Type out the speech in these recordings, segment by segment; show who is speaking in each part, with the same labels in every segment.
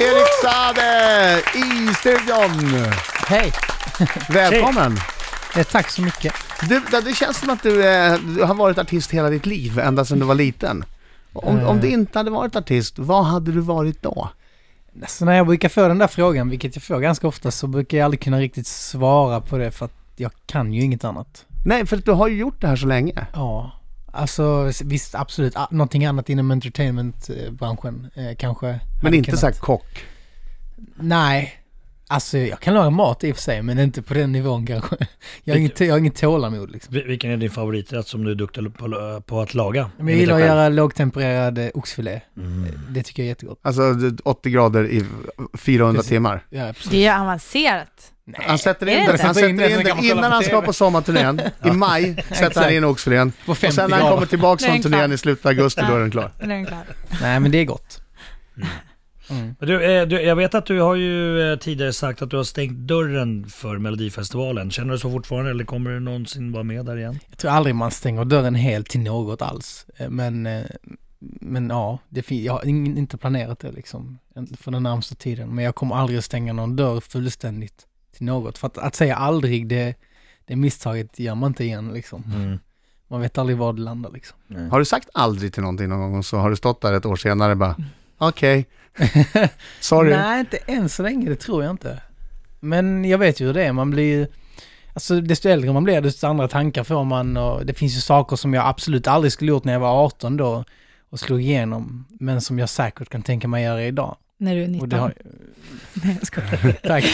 Speaker 1: Erik Sade i studion.
Speaker 2: Hej!
Speaker 1: Välkommen.
Speaker 2: Eh, Tack så mycket.
Speaker 1: Du, det- det känns som att du, eh, du har varit artist hela ditt liv, ända sedan du var liten. Om, om du inte hade varit artist, vad hade du varit då?
Speaker 2: Så när jag brukar få den där frågan, vilket jag får ganska ofta, så brukar jag aldrig kunna riktigt svara på det för att jag kan ju inget annat.
Speaker 1: Nej, för att du har ju gjort det här så länge.
Speaker 2: Ja, alltså visst absolut, ah, någonting annat inom entertainmentbranschen eh, kanske.
Speaker 1: Men
Speaker 2: hade
Speaker 1: inte
Speaker 2: kunnat-
Speaker 1: så här kock.
Speaker 2: Nej, alltså jag kan laga mat i och för sig, men inte på den nivån kanske. Jag har inget, jag har inget tålamod liksom.
Speaker 3: Vil- Vilken är din favoriträtt som du är duktig på, på att laga?
Speaker 2: Men jag gillar att göra lågtempererad eh, oxfilé. Eh,
Speaker 1: Mm.
Speaker 2: Det tycker jag är jättegott.
Speaker 1: Alltså du- 80 grader i 400
Speaker 2: Precis.
Speaker 1: timmar.
Speaker 2: Ja, precis.
Speaker 4: Det är ju avancerat.
Speaker 1: Han sätter
Speaker 4: är
Speaker 1: in
Speaker 4: det
Speaker 1: den,
Speaker 4: inte?
Speaker 1: han
Speaker 2: Sätter in
Speaker 1: sätter
Speaker 2: den
Speaker 1: in
Speaker 2: så
Speaker 1: den
Speaker 2: kan man kolla
Speaker 1: innan
Speaker 2: på
Speaker 1: han
Speaker 2: TV.
Speaker 1: ska på sommarturnén. I maj sätter han
Speaker 2: Exakt.
Speaker 1: in oxfilén.
Speaker 2: På
Speaker 1: Och
Speaker 2: 50
Speaker 1: sen när han kommer
Speaker 2: grader.
Speaker 1: tillbaka
Speaker 4: Den
Speaker 1: från
Speaker 4: är
Speaker 1: turnén
Speaker 4: klar.
Speaker 1: i slutet av augusti, då är den klar.
Speaker 4: Nu är den klar.
Speaker 2: Nej, men det är gott.
Speaker 1: Mm.
Speaker 2: Mm.
Speaker 3: Men Du, eh, du, jag vet att du har ju eh, tidigare sagt att du har stängt dörren för Melodifestivalen. Känner du så fortfarande eller kommer du någonsin vara med där igen?
Speaker 2: Jag tror aldrig man stänger dörren helt till något alls. Eh, Men, eh, men ja, det fin- jag har ing- inte planerat det liksom en- för den närmsta tiden. Men jag kommer aldrig att stänga någon dörr fullständigt till något. För att, att säga aldrig, det, det misstaget gör man inte igen liksom.
Speaker 3: Mm.
Speaker 2: Man vet aldrig var det landar liksom.
Speaker 1: Har du sagt aldrig till någonting någon gång och så har du stått där ett år senare bara, okej, sorry.
Speaker 2: Nej, inte än så länge, det tror jag inte. Men jag vet ju hur det är, man blir ju... Alltså desto äldre man blir, desto andra tankar får man och det finns ju saker som jag absolut aldrig skulle gjort när jag var 18 då och slog igenom, men som jag säkert kan tänka mig göra idag.
Speaker 4: När du är
Speaker 2: Och
Speaker 4: 19.
Speaker 2: det har,
Speaker 4: Nej, jag skojar.
Speaker 2: tack.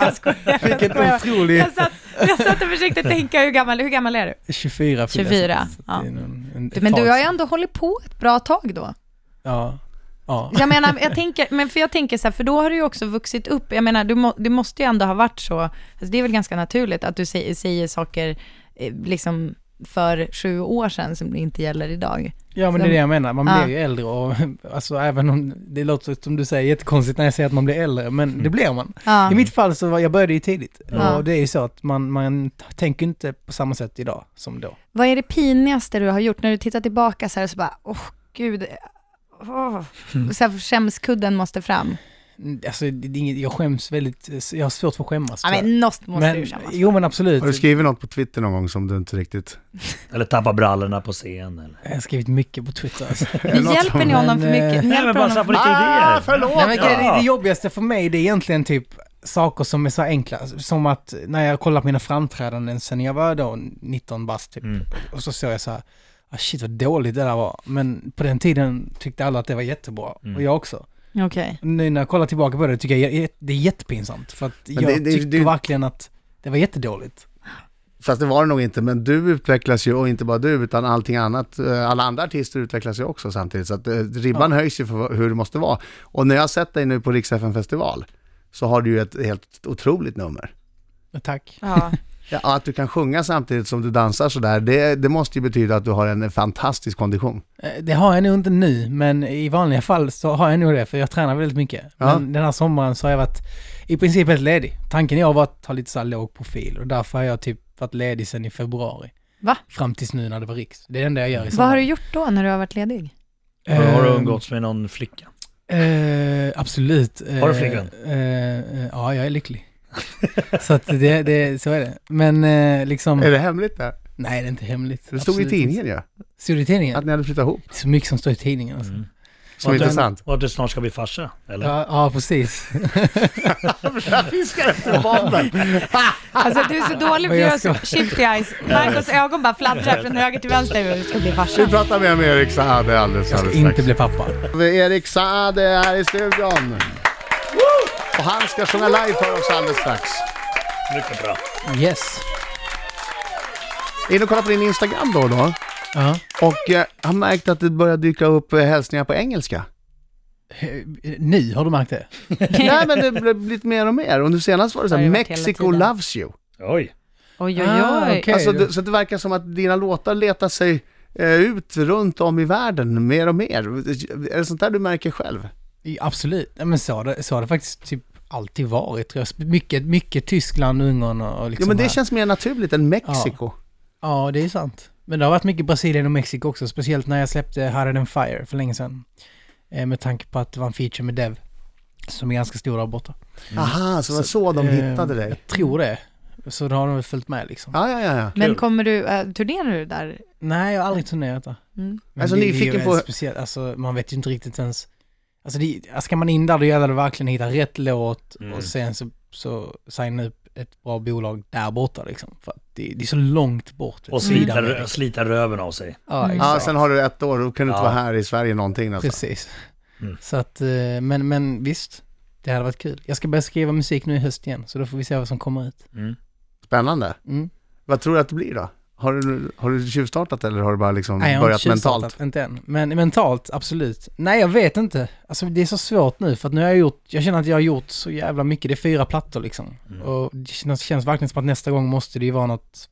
Speaker 4: Jag skojar.
Speaker 2: Vilken
Speaker 4: jag, skojar.
Speaker 2: otrolig...
Speaker 4: jag, satt, jag satt och försökte tänka, hur gammal, hur gammal är du?
Speaker 2: 24 fyller jag.
Speaker 4: 24,
Speaker 2: Så det är
Speaker 4: ja.
Speaker 2: en- en-
Speaker 4: Men
Speaker 2: ett
Speaker 4: du
Speaker 2: tag
Speaker 4: har ju
Speaker 2: sedan.
Speaker 4: ändå hållit på ett bra tag då.
Speaker 2: Ja. Ja.
Speaker 4: Jag menar, jag tänker, men för jag tänker så här, för då har du ju också vuxit upp. Jag menar, du, må, du måste ju ändå ha varit så, alltså det är väl ganska naturligt att du säger, säger saker eh, liksom för sju år sedan som inte gäller idag.
Speaker 2: Ja men
Speaker 4: Så-
Speaker 2: det är det jag menar, man
Speaker 4: Ja.
Speaker 2: blir ju äldre och alltså även om det låter som du säger jättekonstigt när jag säger att man blir äldre, men det blir man.
Speaker 4: Ja.
Speaker 2: I mitt fall så var, jag började ju tidigt
Speaker 4: Ja.
Speaker 2: och det är ju så att man, man t- tänker inte på samma sätt idag som då.
Speaker 4: Vad är det pinigaste du har gjort när du tittar tillbaka så här och så bara, åh oh, gud, åh. så här, skämskudden måste fram.
Speaker 2: Mm, Alltså det, det är inget, jag skäms väldigt, eh, jag har svårt för att skämmas.
Speaker 4: Ja
Speaker 2: tror jag.
Speaker 4: men något måste
Speaker 2: Men-
Speaker 4: du känna.
Speaker 2: jo men absolut.
Speaker 1: Har du skrivit något på Twitter någon gång som du inte riktigt...
Speaker 3: Eller tappa brallorna på scen? Eller?
Speaker 2: Jag har skrivit mycket på Twitter alltså.
Speaker 1: Är det
Speaker 4: Nu
Speaker 1: något
Speaker 4: hjälper ni
Speaker 2: som-
Speaker 4: honom för
Speaker 2: Men, eh,
Speaker 4: mycket. Ni
Speaker 3: Nej men
Speaker 4: hjälper
Speaker 3: bara så här,
Speaker 4: honom
Speaker 3: få
Speaker 4: för...
Speaker 3: lite
Speaker 1: Ah,
Speaker 3: idéer.
Speaker 1: förlåt!
Speaker 2: Nej, men
Speaker 3: Ja.
Speaker 2: det, det jobbigaste för mig det är egentligen typ saker som är så enkla. Som att när jag kollar på mina framträdanden sen jag var då 19 bast typ.
Speaker 3: Mm.
Speaker 2: Och så såg jag så här, ah, shit vad dåligt det där var. Men på den tiden tyckte alla att det var jättebra. Och jag också.
Speaker 4: Okej.
Speaker 2: Nu när jag kollar tillbaka på det tycker jag jä- jä- det är jättepinsamt. För att jag
Speaker 1: det- det-
Speaker 2: tyckte
Speaker 1: det-
Speaker 2: verkligen att det var jättedåligt.
Speaker 1: Fast det var det nog inte, men du utvecklas ju, och inte bara du, utan allting annat. eh, Alla andra artister utvecklas ju också samtidigt, så att eh, ribban höjs ju för hur det måste vara. Och när jag har sett dig nu på Rix FM festival, så har du ju ett helt otroligt nummer.
Speaker 2: Men Tack.
Speaker 4: Ja.
Speaker 1: Ja, att du kan sjunga samtidigt som du dansar sådär, det, det måste ju betyda att du har en fantastisk kondition.
Speaker 2: Eh, Det har jag nog inte nu, men i vanliga fall så har jag nog det, för jag tränar väldigt mycket.
Speaker 1: Ja.
Speaker 2: Men den här sommaren så har jag varit i princip helt ledig. Tanken är att jag har varit att ha lite så här låg profil och därför har jag typ varit ledig sedan i februari.
Speaker 4: Va?
Speaker 2: Fram tills nu när det var riks. Det är det enda jag gör i sommar.
Speaker 4: Vad har du gjort då när du har varit ledig?
Speaker 3: Har, har du
Speaker 2: Eh,
Speaker 3: umgåtts med någon flicka?
Speaker 2: Eh, absolut.
Speaker 3: Har du
Speaker 2: Eh,
Speaker 3: flickvän?
Speaker 2: eh, eh, ja, jag är lycklig. så att det, det, så är det. Men eh, liksom,
Speaker 1: Är det hemligt det här?
Speaker 2: nej det är inte hemligt.
Speaker 1: Det stod
Speaker 2: Absolut
Speaker 1: i
Speaker 2: inte.
Speaker 1: tidningen ju,
Speaker 2: Stod det i tidningen?
Speaker 1: att ni hade flyttat ihop.
Speaker 2: Det är så mycket som står i tidningen alltså.
Speaker 3: Mm.
Speaker 1: Som är
Speaker 3: Och att du-
Speaker 1: intressant.
Speaker 3: Och att du snart ska bli farsa? Eller?
Speaker 2: Ja, ja, precis.
Speaker 1: Jag fiskar efter bomben.
Speaker 4: Alltså du är så dålig för
Speaker 2: Men jag
Speaker 4: att göra så- shifty eyes. Marcos ögon bara fladdrar från höger till vänster. Du ska bli farsa.
Speaker 1: Vi pratar mer med Erik Saade alldeles,
Speaker 2: Jag
Speaker 1: alldeles
Speaker 2: ska
Speaker 1: strax.
Speaker 2: inte bli pappa.
Speaker 1: Erik Saade är här i studion. Och han ska sjunga live för oss alldeles strax.
Speaker 3: Mycket bra.
Speaker 2: Yes.
Speaker 1: In och kolla på din Instagram då och då.
Speaker 2: Ja.
Speaker 1: Och eh, har märkt att det börjar dyka upp eh, hälsningar på engelska.
Speaker 2: Nu, har du märkt det?
Speaker 1: Nej men det blir blivit mer och mer. Och nu senast var det så
Speaker 4: Det
Speaker 1: här,
Speaker 4: har det varit hela
Speaker 1: Mexico
Speaker 4: tiden.
Speaker 1: loves you.
Speaker 3: Oj.
Speaker 4: Oj, oj,
Speaker 2: Ah,
Speaker 4: oj.
Speaker 2: okej.
Speaker 1: Alltså,
Speaker 2: då.
Speaker 1: det, så det verkar som att dina låtar letar sig eh, ut runt om i världen mer och mer. Är det sånt där du märker själv?
Speaker 2: I- Absolut. Ja, men så har, det, så har det faktiskt typ alltid varit tror jag. Mycket, mycket Tyskland, Ungern och och liksom
Speaker 1: Jo men det
Speaker 2: här.
Speaker 1: känns mer naturligt än Mexiko.
Speaker 2: Ja, det är sant. Men det har varit mycket Brasilien och Mexiko också. Speciellt när jag släppte Harder than Fire för länge sedan. Eh, med tanke på att det var en feature med Dev. som är ganska stor där borta.
Speaker 1: Aha, så det var så de
Speaker 2: Eh,
Speaker 1: hittade dig?
Speaker 2: Jag tror det. Så då har de väl följt med liksom.
Speaker 1: Ja, ja, ja. ja.
Speaker 4: Men
Speaker 3: Kul.
Speaker 4: kommer du, äh, turnerar du där?
Speaker 2: Nej, jag har aldrig turnerat där.
Speaker 4: Mm.
Speaker 2: Men
Speaker 1: Alltså,
Speaker 2: det-
Speaker 1: nyfiken
Speaker 2: det är ju
Speaker 1: på-
Speaker 2: väldigt Speciellt, alltså, man vet ju inte riktigt ens. Alltså, det, alltså ska man in där då gäller det verkligen att hitta rätt låt
Speaker 3: Mm.
Speaker 2: och sen så, så signa upp ett bra bolag där borta liksom. För att det, det är så långt bort.
Speaker 3: Och
Speaker 2: Sydamerika.
Speaker 3: slita, rö- slita röven av sig.
Speaker 2: Ja,
Speaker 4: Mm.
Speaker 2: exakt.
Speaker 1: Ja, sen har du ett år, då kan du inte
Speaker 3: Ja.
Speaker 1: vara här i Sverige någonting alltså. nästan.
Speaker 2: Precis.
Speaker 3: Mm.
Speaker 2: Så att, eh, men, men visst, det hade varit kul. Jag ska börja skriva musik nu i höst igen, så då får vi se vad som kommer ut.
Speaker 3: Mm.
Speaker 1: Spännande.
Speaker 2: Mm.
Speaker 1: Vad tror du att det blir då? Har du, har du tjuvstartat eller har du bara liksom
Speaker 2: Nej, jag har
Speaker 1: börjat
Speaker 2: inte tjuvstartat,
Speaker 1: mentalt?
Speaker 2: Inte än. Men mentalt, absolut. Nej, jag vet inte. Alltså det är så svårt nu för att nu har jag gjort, jag känner att jag har gjort så jävla mycket. Det är fyra plattor liksom.
Speaker 3: Mm.
Speaker 2: Och det känns, känns verkligen som att nästa gång måste det ju vara något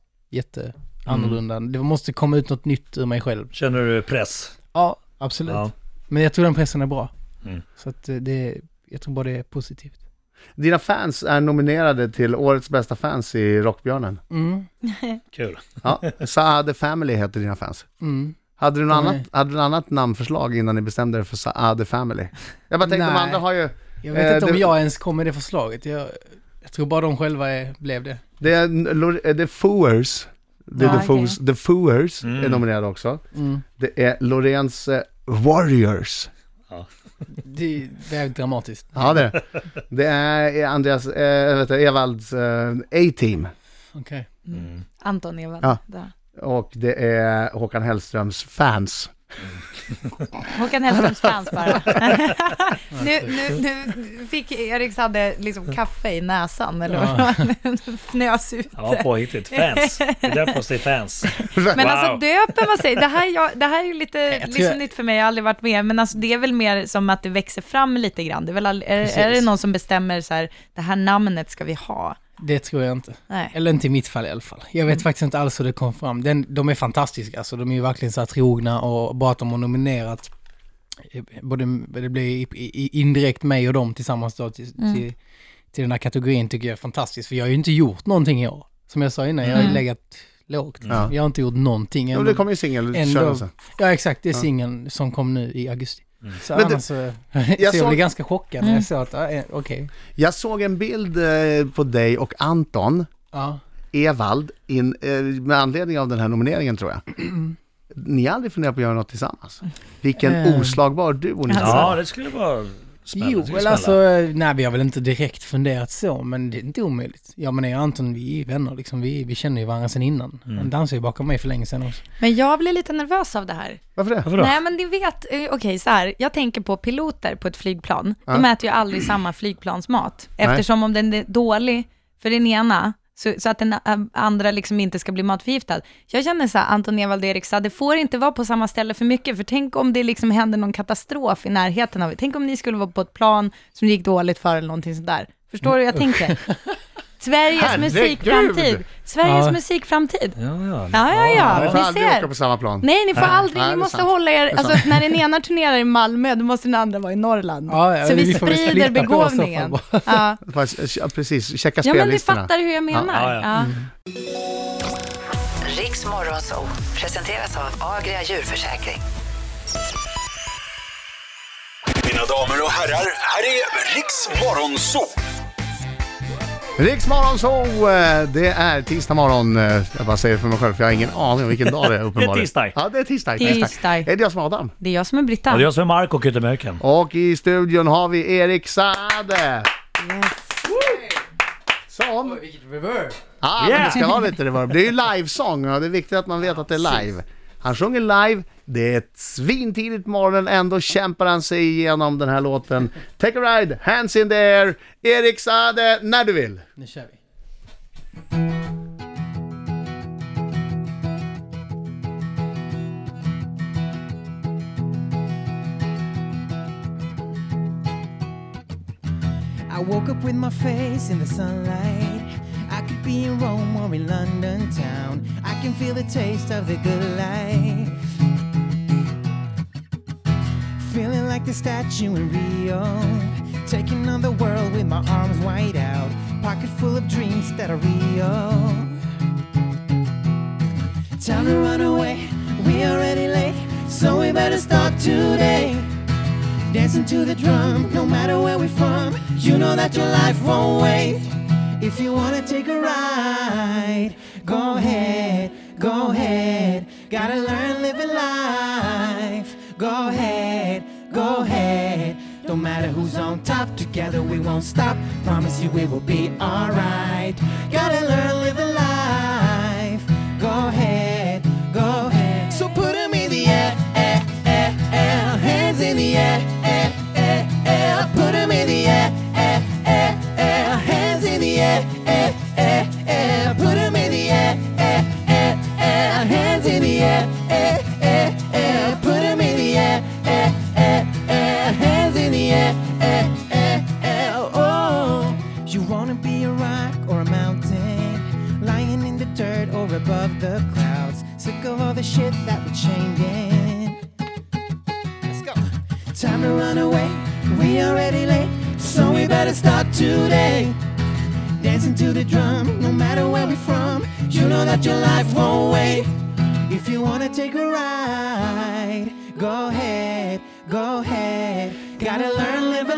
Speaker 2: jätteannorlunda.
Speaker 3: Mm.
Speaker 2: Det måste komma ut något nytt ur mig själv.
Speaker 3: Känner du press?
Speaker 2: Ja, absolut.
Speaker 3: Ja.
Speaker 2: Men jag tror den pressen är bra.
Speaker 3: Mm.
Speaker 2: Så att eh, det, jag tror bara det är positivt.
Speaker 1: Dina fans är nominerade till årets bästa fans i Rockbjörnen.
Speaker 2: Mm,
Speaker 3: Kul.
Speaker 1: Ja, Saad Family heter dina fans.
Speaker 2: mm.
Speaker 1: Hade du, något
Speaker 2: Nej.
Speaker 1: annat, hade du något annat namnförslag innan ni bestämde er för Saad Family? Jag bara tänkte, de
Speaker 2: Nej.
Speaker 1: andra har ju...
Speaker 2: Jag vet
Speaker 1: Eh,
Speaker 2: inte om
Speaker 1: det-
Speaker 2: jag ens kom med det förslaget. Jag, jag tror bara de själva är, blev det.
Speaker 1: Det är, Lor- det är Fooers. Det är
Speaker 4: Ja,
Speaker 1: the, Fooers. the Fooers är
Speaker 3: Mm.
Speaker 1: nominerade också.
Speaker 2: Mm.
Speaker 1: Det är Loreens eh, Warriors.
Speaker 2: Det, det är dramatiskt.
Speaker 1: Ja, det är det. Det är Andreas, eh, vet du, Evalds eh, A-Team.
Speaker 2: Okej.
Speaker 3: Mm.
Speaker 4: Anton Ewald.
Speaker 1: Ja.
Speaker 4: där.
Speaker 1: Och det är Håkan Hellströms fans.
Speaker 4: Håkan Hellströms fans bara. nu, nu, nu fick Erik Sade liksom kaffe i näsan eller
Speaker 2: Ja.
Speaker 4: vad fnös ut.
Speaker 3: Ja, påhittigt. Fans. Det är därför man säger fans.
Speaker 4: Men
Speaker 3: Wow.
Speaker 4: alltså döper man sig, det här, jag, det här är ju lite
Speaker 2: tror
Speaker 4: liksom
Speaker 2: jag-
Speaker 4: nytt för mig, jag har aldrig varit med, men alltså, det är väl mer som att det växer fram lite grann. Det är, väl all, är, är det
Speaker 2: Precis.
Speaker 4: någon som bestämmer så här, det här namnet ska vi ha?
Speaker 2: Det tror jag inte.
Speaker 4: Nej.
Speaker 2: Eller inte i mitt fall i alla fall. Jag vet faktiskt inte alls hur det kom fram. Den, de är fantastiska, alltså de är ju verkligen så här trogna och bara att de har nominerat eh, både, det blir i- i- indirekt mig och dem tillsammans då till, till, till den här kategorin tycker jag är fantastiskt. För jag har ju inte gjort någonting i år. Som jag sa innan, jag har ju legat lågt.
Speaker 1: Ja.
Speaker 2: Jag har inte gjort någonting.
Speaker 1: Ja,
Speaker 2: Ändå-
Speaker 1: det kommer ju singelkörelsen.
Speaker 2: Ja exakt, det är singeln som kom nu i augusti. Så
Speaker 1: Mm. Men du-
Speaker 2: annars så, jag, så jag
Speaker 1: såg-
Speaker 2: blev ganska chockad när jag såg att, ja, eh, okej.
Speaker 1: Jag såg en bild eh, på dig och Anton
Speaker 2: Ja.
Speaker 1: Evald in, eh, med anledning av den här nomineringen tror jag. Ni har aldrig funderat på att göra något tillsammans? Vilken
Speaker 2: Eh.
Speaker 1: oslagbar duo ni
Speaker 4: Alltså.
Speaker 1: har.
Speaker 3: Ja, det skulle vara spännande.
Speaker 2: Jo,
Speaker 3: Det skulle
Speaker 2: eller
Speaker 3: smälla.
Speaker 2: alltså, nej vi har väl inte direkt funderat så, men det är inte omöjligt. Ja men jag och Anton, vi är vänner liksom, vi, vi känner ju varandra sedan innan. Han dansade ju bakom mig för länge sedan också.
Speaker 4: Men jag blir lite nervös av det här.
Speaker 1: Varför det?
Speaker 3: Varför då?
Speaker 4: Nej, men ni vet, eh, okej så här, jag tänker på piloter på ett flygplan. De äter ju aldrig samma flygplansmat. Eftersom om den är dålig för den ena, så, så att den eh, andra liksom inte ska bli matförgiftad. Jag känner så här, Anton Ewald och Erik sa, det får inte vara på samma ställe för mycket, för tänk om det liksom händer någon katastrof i närheten av er. Tänk om ni skulle vara på ett plan som det gick dåligt för eller någonting sådär. Förstår du hur jag tänker? Sveriges
Speaker 1: Mm. Herregud!
Speaker 4: musikframtid. Sveriges
Speaker 2: Ja.
Speaker 4: musikframtid.
Speaker 3: Ja, ja.
Speaker 4: Ja, ja, ja.
Speaker 1: Ni får
Speaker 4: Ni
Speaker 1: aldrig
Speaker 4: ser.
Speaker 1: åka på samma plan.
Speaker 4: Nej, ni får aldrig,
Speaker 1: Nej, det
Speaker 4: ni
Speaker 1: är
Speaker 4: måste
Speaker 1: sant.
Speaker 4: hålla
Speaker 1: Det
Speaker 4: er,
Speaker 1: är
Speaker 4: alltså när den ena turnerar i Malmö, då måste den andra vara i Norrland.
Speaker 2: Ja, ja,
Speaker 4: så vi,
Speaker 2: vi får väl
Speaker 4: sprider
Speaker 2: splittra på oss i så fall
Speaker 4: begåvningen.
Speaker 2: bara.
Speaker 4: Ja.
Speaker 1: Fast, ja, Precis, checka
Speaker 4: ja, men ni
Speaker 1: spellistorna.
Speaker 4: fattar hur jag menar.
Speaker 3: Ja,
Speaker 4: Ja,
Speaker 3: ja.
Speaker 5: Riks Morgonzoo presenteras av Agria djurförsäkring.
Speaker 6: Mina damer och herrar, här är Riks Morgonzoo!
Speaker 1: Riksmorgon så, eh, det är tisdag morgon. eh, Jag bara säger det för mig själv för jag har ingen aning om vilken dag det är uppenbarligen.
Speaker 3: tisdag.
Speaker 1: Ja, det är tisdag.
Speaker 4: Tisdag.
Speaker 1: Är det jag som är Adam?
Speaker 4: Det är jag som är Britta.
Speaker 3: Ja, det är jag som är Marco Kyttemöken.
Speaker 1: Och i studion har vi Erik Saade. Som...
Speaker 2: Vilket reverb!
Speaker 1: Ja, men det ska vara lite reverb. Det är ju livesång och det är viktigt att man vet att det är live. Han sjunger live, det är ett svintidigt på morgonen, ändå kämpar han sig igenom den här låten. Take a ride, hands in the air, Erik Saade, när du vill.
Speaker 2: Nu kör vi.
Speaker 7: I woke up with my face in the sunlight. I could be in Rome or in London town. I can feel the taste of the good life. Feeling like the statue in Rio. Taking on the world with my arms wide out. Pocket full of dreams that are real. Time to run away. We already late, so we better start today.
Speaker 2: Dancing to the drum, no matter where we're from. You know that your life won't wait. If you wanna take a ride, go ahead, go ahead. Gotta learn living life. Go ahead, go ahead. Don't matter who's on top, together we won't stop. Promise you it will be alright. Gotta learn living life. Go ahead, go ahead. So put 'em in the air, air, air, air. hands in the air, air, air, air. Put 'em in the air, air, air, air. hands in the air, air, air, air. Put 'em in the air, air, air, air. hands in the air, air, air, air. Put 'em in the air, air, air, air. hands in the air, air, air, air. Oh, you wanna be a rock or a mountain, lying in the dirt or above the clouds, sick of all the shit that we're changing. Let's go. Time to run away. We already late, so we better start today. Dancing to the drum, no matter where we're from. You know that your life won't wait. If you wanna take a ride, go ahead, go ahead. Gotta learn live a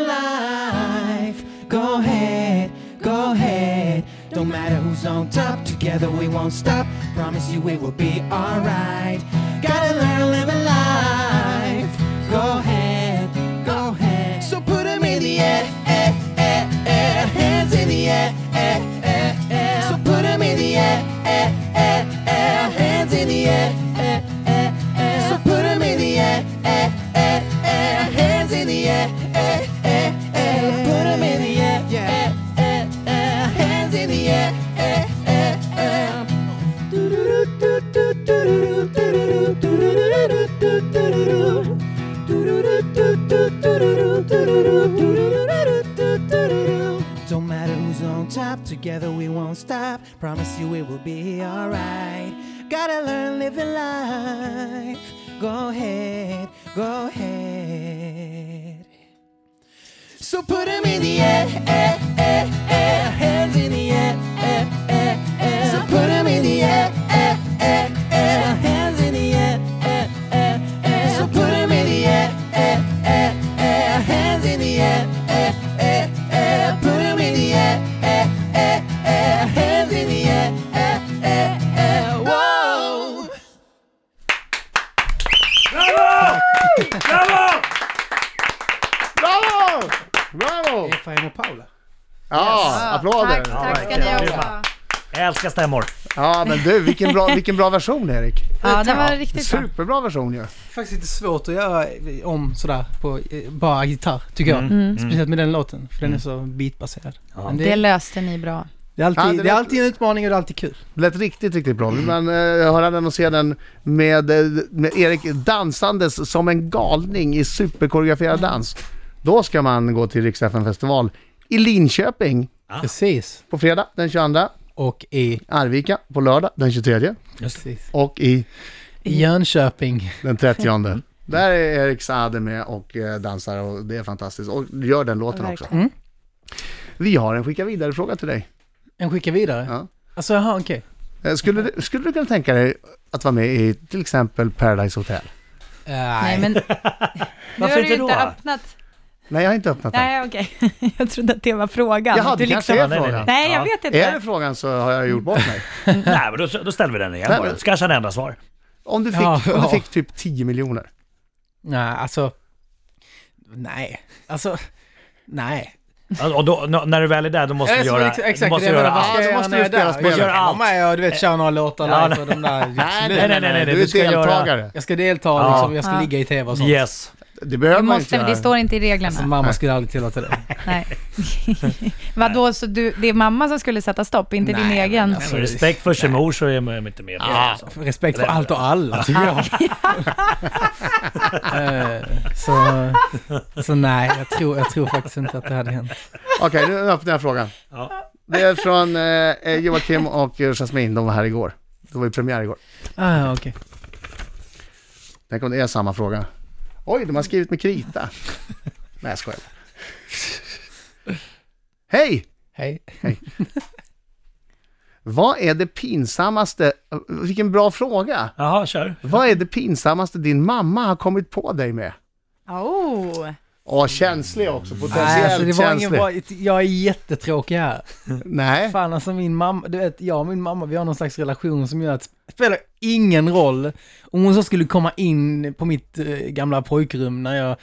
Speaker 2: life. Go ahead, go ahead. Don't matter who's on top, together we won't stop. Promise you it will be alright. Gotta learn live a life. Go ahead, go ahead. So put 'em in the air, air, air, air. hands in the air, air, air, air. So put 'em in the air, air, air, air. hands in the air, air, air, air. So put 'em in the air, air, air, air. hands in the air, air, air, air. Put 'em in the air, air, air, air. hands in the air, air, air, air. Don't matter who's on top, together we won't stop. Promise you it will be alright. Gotta learn living life. Go ahead, go ahead. So put 'em in the air, air, air, air. hands in the air, air, air, air. So put 'em in the air, air, air, air. hands in the air, air, air, air. So put 'em in the air, air, air, air. hands in the air, air, air, air. Put 'em in the air, air, air, air. hands in the air, air, air, air. Whoa!
Speaker 3: Bravo! Bravo!
Speaker 1: Bravo! Bravo!
Speaker 8: Efraim och Paula.
Speaker 1: Ja, applåder!
Speaker 4: Tack, tack ska ni ha.
Speaker 3: Jag älskar stämmor.
Speaker 1: Ja, men du, vilken bra, vilken bra version Erik.
Speaker 4: Ja, det var riktigt bra.
Speaker 1: Superbra version ju.
Speaker 8: Faktiskt lite svårt att göra om sådär på eh, bara gitarr, tycker jag. Speciellt med den låten, för den är så beatbaserad. Men
Speaker 4: Det
Speaker 8: det,
Speaker 4: löste ni bra.
Speaker 8: det, är alltid,
Speaker 1: Ja, det
Speaker 8: det, är
Speaker 1: lät-
Speaker 8: alltid en utmaning och det är alltid kul.
Speaker 1: Lät riktigt, riktigt bra. Men eh, jag hörde den och se den med, eh, med Erik dansandes som en galning i superkoreograferad dans. Då ska man gå till Riksdagen festival i Linköping
Speaker 3: Ah.
Speaker 8: Precis.
Speaker 1: på fredag den 22,
Speaker 8: Och i
Speaker 1: Arvika på lördag den 23
Speaker 8: precis.
Speaker 1: och i
Speaker 8: I Jönköping.
Speaker 1: den 30. Där är Erik Saade med och eh, dansar och det är fantastiskt. Och gör den låten också.
Speaker 4: Verkligen.
Speaker 1: Vi har en skicka vidare-fråga till dig.
Speaker 8: En skickar vidare.
Speaker 1: Ja.
Speaker 8: Alltså, jaha, okej.
Speaker 1: Eh, Skulle du, skulle du kunna tänka dig att vara med i till exempel Paradise Hotel?
Speaker 4: Nej, men nu
Speaker 3: Varför
Speaker 4: har du
Speaker 3: inte
Speaker 4: inte
Speaker 3: då?
Speaker 4: öppnat.
Speaker 1: Nej, jag har inte öppnat den.
Speaker 4: Nej, okej. Jag trodde att det var frågan. liksom-
Speaker 1: Jaha, det kanske är
Speaker 3: nej, nej,
Speaker 1: frågan.
Speaker 4: Nej, jag
Speaker 3: Ja.
Speaker 4: vet
Speaker 1: Är det
Speaker 4: inte.
Speaker 1: frågan så har jag gjort bort mig.
Speaker 3: Nej, men då, då ställer vi den igen
Speaker 1: Nej,
Speaker 3: bara.
Speaker 1: men-
Speaker 3: Ska jag känna ändra svar?
Speaker 1: Om du fick,
Speaker 8: Ja,
Speaker 1: om du
Speaker 8: ja.
Speaker 1: fick typ 10 miljoner.
Speaker 8: Nej, alltså. Nej, alltså. Nej.
Speaker 3: Ja, Och då, n- när du väl är där, då måste du göra... du måste
Speaker 8: det jag
Speaker 3: göra
Speaker 8: menar. Vad
Speaker 3: allt.
Speaker 8: ska jag
Speaker 1: Ja, då
Speaker 8: göra
Speaker 1: måste
Speaker 8: när
Speaker 1: du
Speaker 8: jag är där?
Speaker 1: spela
Speaker 8: Jag ska
Speaker 1: spelet.
Speaker 8: vara med och du vet köra några låtar
Speaker 3: Ja,
Speaker 8: live och de där. absolut.
Speaker 3: nej, nej, nej, nej,
Speaker 1: Du
Speaker 3: du
Speaker 1: är
Speaker 3: ska göra-
Speaker 1: deltagare.
Speaker 8: Jag ska delta
Speaker 3: Ja.
Speaker 8: liksom, jag ska
Speaker 4: Ja.
Speaker 8: ligga i tv och sånt.
Speaker 3: Yes.
Speaker 1: Det behöver
Speaker 4: Du
Speaker 1: man inte
Speaker 4: måste, det
Speaker 1: göra.
Speaker 4: står inte i
Speaker 8: Alltså,
Speaker 4: reglerna.
Speaker 8: mamma skulle aldrig tillåta det.
Speaker 4: Nej. Vadå, så du, det är mamma som skulle sätta stopp, inte din
Speaker 8: Nej,
Speaker 4: egen?
Speaker 8: alltså.
Speaker 3: Så respekt för sin mor så är man inte med. Ja.
Speaker 2: alltså,
Speaker 8: Respekt för allt och alla tycker jag. Eh, så, så nej, jag tror, jag tror faktiskt inte att det hade hänt.
Speaker 1: Okej, nu öppnar jag frågan.
Speaker 3: Ja.
Speaker 1: Det är från eh, Joakim och Jasmine, de var här igår. Det var ju premiär igår.
Speaker 8: Ah, okej.
Speaker 1: Tänk om det är samma fråga. Oj, de har skrivit med krita. Nej, jag skojar. Hej!
Speaker 8: Hej.
Speaker 1: Vad är det pinsammaste... Vilken bra fråga!
Speaker 3: Jaha, kör.
Speaker 1: Vad är det pinsammaste din mamma har kommit på dig med?
Speaker 4: Oh,
Speaker 1: Åh, känslig också.
Speaker 2: Nej, alltså, det
Speaker 1: Potentiellt
Speaker 2: var ingen
Speaker 1: känslig.
Speaker 2: bra, jag är jättetråkig här.
Speaker 1: Nej.
Speaker 2: Fan alltså min mamma, du vet jag och min mamma vi har någon slags relation som gör att det spelar ingen roll om hon så skulle komma in på mitt eh, gamla pojkrum när jag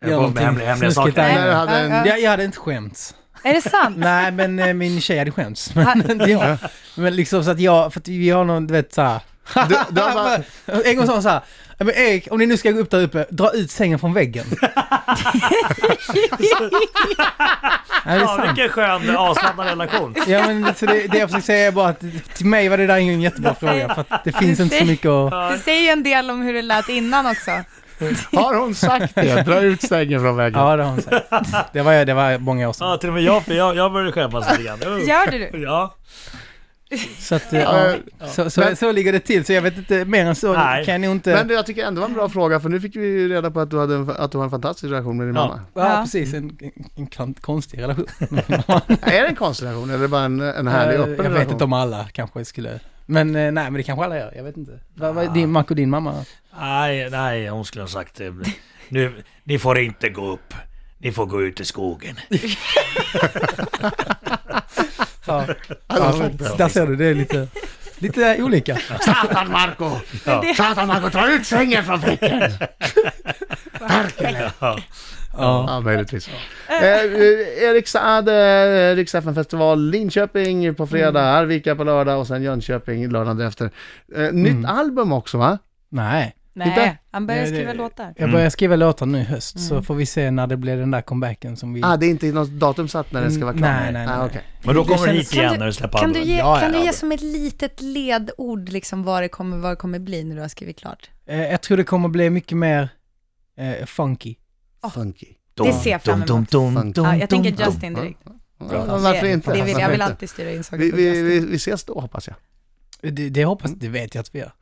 Speaker 3: Jag kom med hemliga- hemliga
Speaker 2: snuskigt
Speaker 3: saker.
Speaker 2: där.
Speaker 1: Nej, du hade en-
Speaker 4: Ja, ja.
Speaker 2: Jag, jag hade inte skämts.
Speaker 4: Är det sant?
Speaker 2: Nej men eh, min tjej hade skämts, men inte jag. Men liksom så att jag, för att vi har någon, du vet såhär.
Speaker 1: Du, du har bara,
Speaker 2: En gång sa hon såhär, "Ja, men Erik om ni nu ska gå upp där uppe, dra ut sängen från väggen. Nej, det är
Speaker 3: Ja,
Speaker 2: sant.
Speaker 3: vilken skön avslappnad relation.
Speaker 2: Ja men så det, det jag försöker säga är bara att till mig var det där ingen jättebra fråga för att det finns inte så mycket att...
Speaker 4: Det säger ju en del om hur det lät innan också.
Speaker 1: har hon sagt det? Dra ut sängen från väggen.
Speaker 2: Ja det har hon sagt. Det var, det var många år
Speaker 3: Ja,
Speaker 2: sedan.
Speaker 3: till och med jag, för jag, jag började skämmas lite grann. Uh.
Speaker 4: Gör det du?
Speaker 3: Ja.
Speaker 2: Så, att, eh, ja, så, så,
Speaker 1: Men-
Speaker 2: så ligger det till, så jag vet inte, mer än så
Speaker 3: Nej.
Speaker 2: kan jag inte...
Speaker 1: Men du, jag tycker ändå det var en bra fråga, för nu fick vi ju reda på att du, hade en, att du har en fantastisk relation med din
Speaker 3: Ja.
Speaker 1: mamma.
Speaker 2: ja,
Speaker 4: Ja.
Speaker 2: precis, en, en, en kan- konstig relation.
Speaker 1: Är det en konstig relation eller är det bara en, en härlig öppen
Speaker 2: Eh, jag vet
Speaker 1: relation?
Speaker 2: inte om alla kanske skulle... Men eh, nej, men det kanske alla gör, jag vet inte. Vad
Speaker 1: Ah.
Speaker 2: vad är din, Marco, din mamma?
Speaker 3: Nej, nej, hon skulle ha sagt det. Nu, ni får inte gå upp. Ni får gå ut i skogen.
Speaker 2: Ja,
Speaker 1: Alla
Speaker 2: ja, där ser du, det är lite, lite olika.
Speaker 1: Satan Marco! Satan Marco, dra ut sängen från väggen!
Speaker 3: Ja.
Speaker 2: Ja.
Speaker 1: Ja, möjligtvis. Eh, eh, Erik Saade, eh, Riks FN-festival Linköping på fredag,
Speaker 2: Mm.
Speaker 1: Arvika på lördag och sen Jönköping lördagen efter. Eh,
Speaker 2: Mm.
Speaker 1: Nytt album också va?
Speaker 2: Nej.
Speaker 1: Titta.
Speaker 4: Nej, han börjar
Speaker 2: Nej, det-
Speaker 4: skriva låtar.
Speaker 1: Mm.
Speaker 2: Jag börjar skriva låtar nu i höst så får vi se när det blir den där comebacken som vi...
Speaker 1: Ah, det är inte något datum satt när den ska vara klar?
Speaker 2: Nej, nej, nej.
Speaker 1: Ah, okej.
Speaker 3: Men då kommer du hit
Speaker 4: Kan
Speaker 3: igen
Speaker 4: du-
Speaker 3: när du släpper
Speaker 4: Kan du
Speaker 3: albumet.
Speaker 4: ge,
Speaker 2: Ja, ja,
Speaker 4: kan du
Speaker 2: ja.
Speaker 4: ge som ett litet ledord liksom vad det kommer, vad det kommer bli när du har skrivit klart?
Speaker 2: Eh, jag tror det kommer bli mycket mer eh, funky.
Speaker 1: Funky.
Speaker 4: Det ser jag fram emot.
Speaker 3: Dum, dum, dum,
Speaker 1: Fan.
Speaker 3: dum,
Speaker 4: Ja, jag
Speaker 3: dum,
Speaker 4: tänker
Speaker 3: dum.
Speaker 4: Justin direkt.
Speaker 1: Ja, varför
Speaker 4: Det-
Speaker 1: inte?
Speaker 4: Det vill, jag
Speaker 1: Varför
Speaker 4: vill
Speaker 1: inte?
Speaker 4: alltid styra in saker
Speaker 1: Vi,
Speaker 4: på
Speaker 1: vi,
Speaker 4: Justin.
Speaker 1: vi, vi ses då hoppas jag.
Speaker 2: Det, det hoppas, det vet jag att vi gör.